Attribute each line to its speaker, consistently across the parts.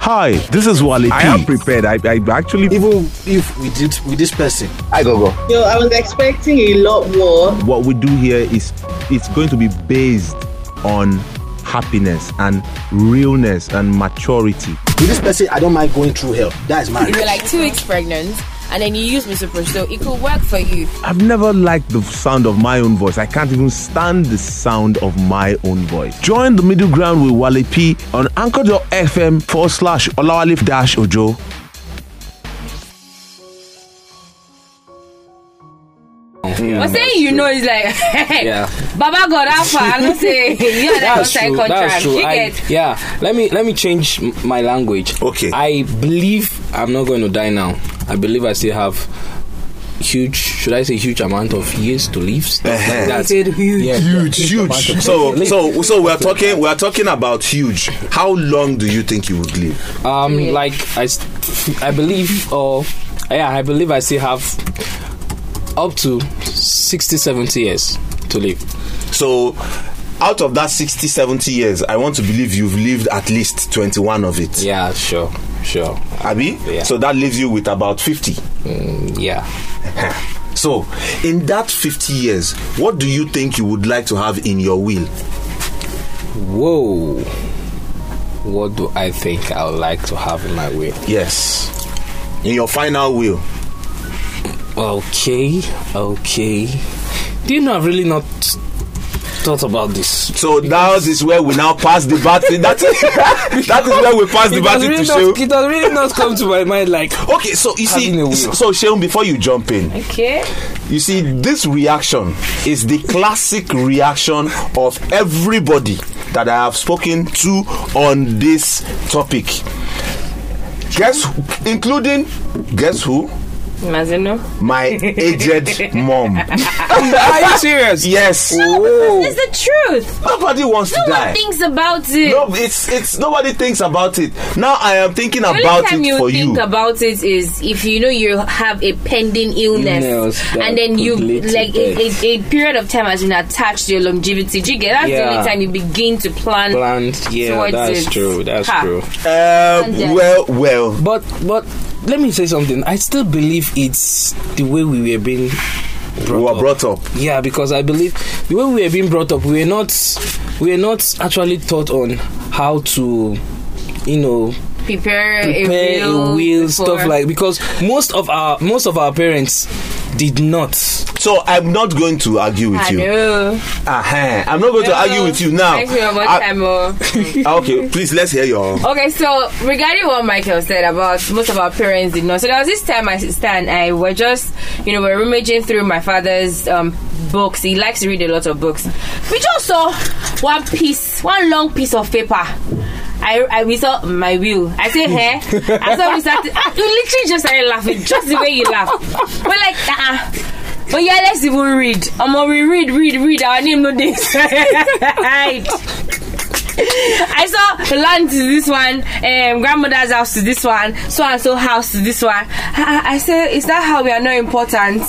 Speaker 1: Hi, this is Wale
Speaker 2: I am prepared. I, I actually
Speaker 3: Even if we did with this person,
Speaker 2: I go go.
Speaker 4: Yo, I was expecting a lot more.
Speaker 2: What we do here is it's going to be based on happiness and realness and maturity.
Speaker 3: with this person, I don't mind going through hell. That is marriage.
Speaker 5: If you're like two weeks pregnant and then you use misoprostol, it could work for you.
Speaker 2: I've never liked the sound of my own voice. I can't even stand the sound of my own voice.
Speaker 1: Join the middle ground with Wale P on anchor.fm forward slash Olawale dash Ojo.
Speaker 5: But saying you know is like,
Speaker 6: Mm. Yeah.
Speaker 5: Baba God Alpha, I don't say you're like
Speaker 6: That's
Speaker 5: outside
Speaker 6: true. That's
Speaker 5: contract.
Speaker 6: true.
Speaker 5: You
Speaker 6: I,
Speaker 5: get
Speaker 6: yeah. Let me let me change m- my language.
Speaker 1: Okay.
Speaker 6: I believe I'm not going to die now. I believe I still have huge. Should I say huge amount of years to live? Stuff like
Speaker 1: Uh-huh.
Speaker 6: that.
Speaker 5: Said huge.
Speaker 6: Yeah.
Speaker 1: Huge. So so so we are talking we are talking about huge. How long do you think you would live?
Speaker 6: Um,
Speaker 5: Yeah.
Speaker 6: like I, st- I believe, or yeah, I believe I still have up to 60, 70 years to live.
Speaker 1: So out of that 60 70 years, I want to believe you've lived at least 21 of it.
Speaker 6: Yeah, sure, sure.
Speaker 1: Abi?
Speaker 6: Yeah.
Speaker 1: So that leaves you with about 50.
Speaker 6: Yeah.
Speaker 1: So, in that 50 years, what do you think you would like to have in your will?
Speaker 6: Whoa. What do I think I would like to have in my will?
Speaker 1: Yes. In your final will.
Speaker 6: Okay, okay. Do you know I've really not thought about this?
Speaker 1: So now this is where we now pass the baton. That is, that is where we pass the
Speaker 6: It has,
Speaker 1: baton to
Speaker 6: really not,
Speaker 1: Sheun.
Speaker 6: it has really not come to my mind like
Speaker 1: Okay, so you see,
Speaker 6: Having a will.
Speaker 1: so Sheun, before you jump in,
Speaker 5: Okay.
Speaker 1: you see, this reaction is the classic reaction of everybody that I have spoken to on this topic. Guess, who- including, guess who?
Speaker 5: Mazino.
Speaker 1: My aged mom.
Speaker 6: Are you serious?
Speaker 1: Yes.
Speaker 5: It's the truth.
Speaker 1: Nobody wants to
Speaker 5: No
Speaker 1: die.
Speaker 5: one thinks about it.
Speaker 1: No, it's it's nobody thinks about it. Now I am thinking
Speaker 5: The only
Speaker 1: about
Speaker 5: time
Speaker 1: it
Speaker 5: you
Speaker 1: for
Speaker 5: think
Speaker 1: you.
Speaker 5: about it is if you know you have a pending illness,
Speaker 6: Illness that
Speaker 5: and then you
Speaker 6: could lead to
Speaker 5: like a, a, a period of time has been attached to your longevity. Do you get that's the
Speaker 6: Yeah.
Speaker 5: only time you begin to plan.
Speaker 6: Planned. Yeah,
Speaker 5: Towards
Speaker 6: that's
Speaker 5: it.
Speaker 6: true. That's
Speaker 5: Ha.
Speaker 6: true.
Speaker 1: um, well, well,
Speaker 6: But but let me say something. I still believe it's the way we were being
Speaker 1: we were brought up.
Speaker 6: Yeah, because I believe the way we were being brought up, we were not we were not actually taught on how to you know
Speaker 5: Prepare,
Speaker 6: prepare
Speaker 5: a will,
Speaker 6: a will stuff
Speaker 5: before-
Speaker 6: like because most of our most of our parents did not
Speaker 1: So I'm not going to argue with
Speaker 5: I
Speaker 1: you.
Speaker 5: know.
Speaker 1: Uh-huh. I'm not going to argue with you now.
Speaker 5: Thank you very much,
Speaker 1: I-
Speaker 5: Samuel.
Speaker 1: okay, please let's hear your.
Speaker 5: Okay, so regarding what Michael said about most of our parents did not. So there was this time my sister and I were just, you know, we are rummaging through my father's um, books. He likes to read a lot of books. We just saw one piece, one long piece of paper. I, I we saw my will. I said, hey. I saw we started. ah, You literally just started laughing, just the way you laugh. We're like, uh But yeah, let's even read. Um, we read, read, read. Our name no this. I saw land to this one, um, grandmother's house to this one, so and so house to this one. I, I said, is that how we are not important?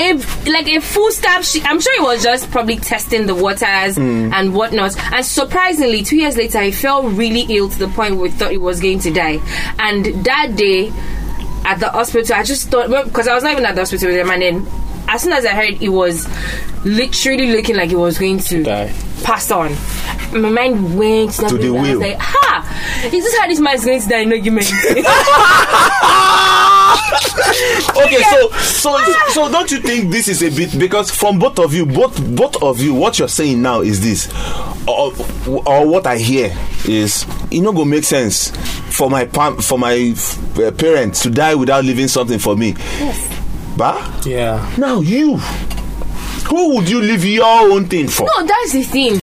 Speaker 5: If, like a full stop, she, I'm sure it was just probably testing the waters and whatnot. And surprisingly, two years later, he fell really ill to the point where we thought he was going to die. And that day at the hospital, I just thought because I was not even at the hospital with him, and then as soon as I heard, it was literally looking like he was going to
Speaker 6: Die.
Speaker 5: pass on. My mind went to, that
Speaker 1: To the
Speaker 5: place. I was
Speaker 1: will.
Speaker 5: like, ha! Is this how this man is going to die? No, give me. anything."
Speaker 1: Okay, so so
Speaker 5: Ah!
Speaker 1: so don't you think this is a bit because from both of you, both both of you, what you're saying now is this, or, or what I hear is it no go make sense for my pam, for my uh, parents to die without leaving something for me. Yes. Bah.
Speaker 6: yeah
Speaker 1: Now you, who would you leave your own thing for?
Speaker 5: no, Oh, that's the thing.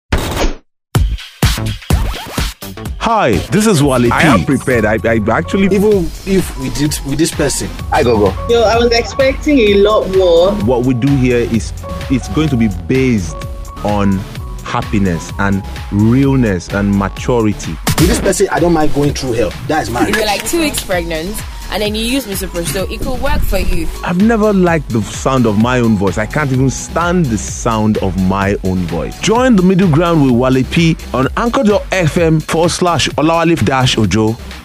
Speaker 1: Hi, this is Wale
Speaker 2: I am prepared. I, I actually
Speaker 3: Even if we did with this person,
Speaker 2: I go go.
Speaker 4: Yo, I was expecting a lot more.
Speaker 2: What we do here is it's going to be based on happiness and realness and maturity.
Speaker 3: with this person, I don't mind going through hell. That is marriage.
Speaker 5: If you're like two weeks pregnant and then you use misoprostol, it could work for you.
Speaker 2: I've never liked the sound of my own voice. I can't even stand the sound of my own voice.
Speaker 1: Join the middle ground with Wale P on anchor.fm forward slash Olawale dash Ojo.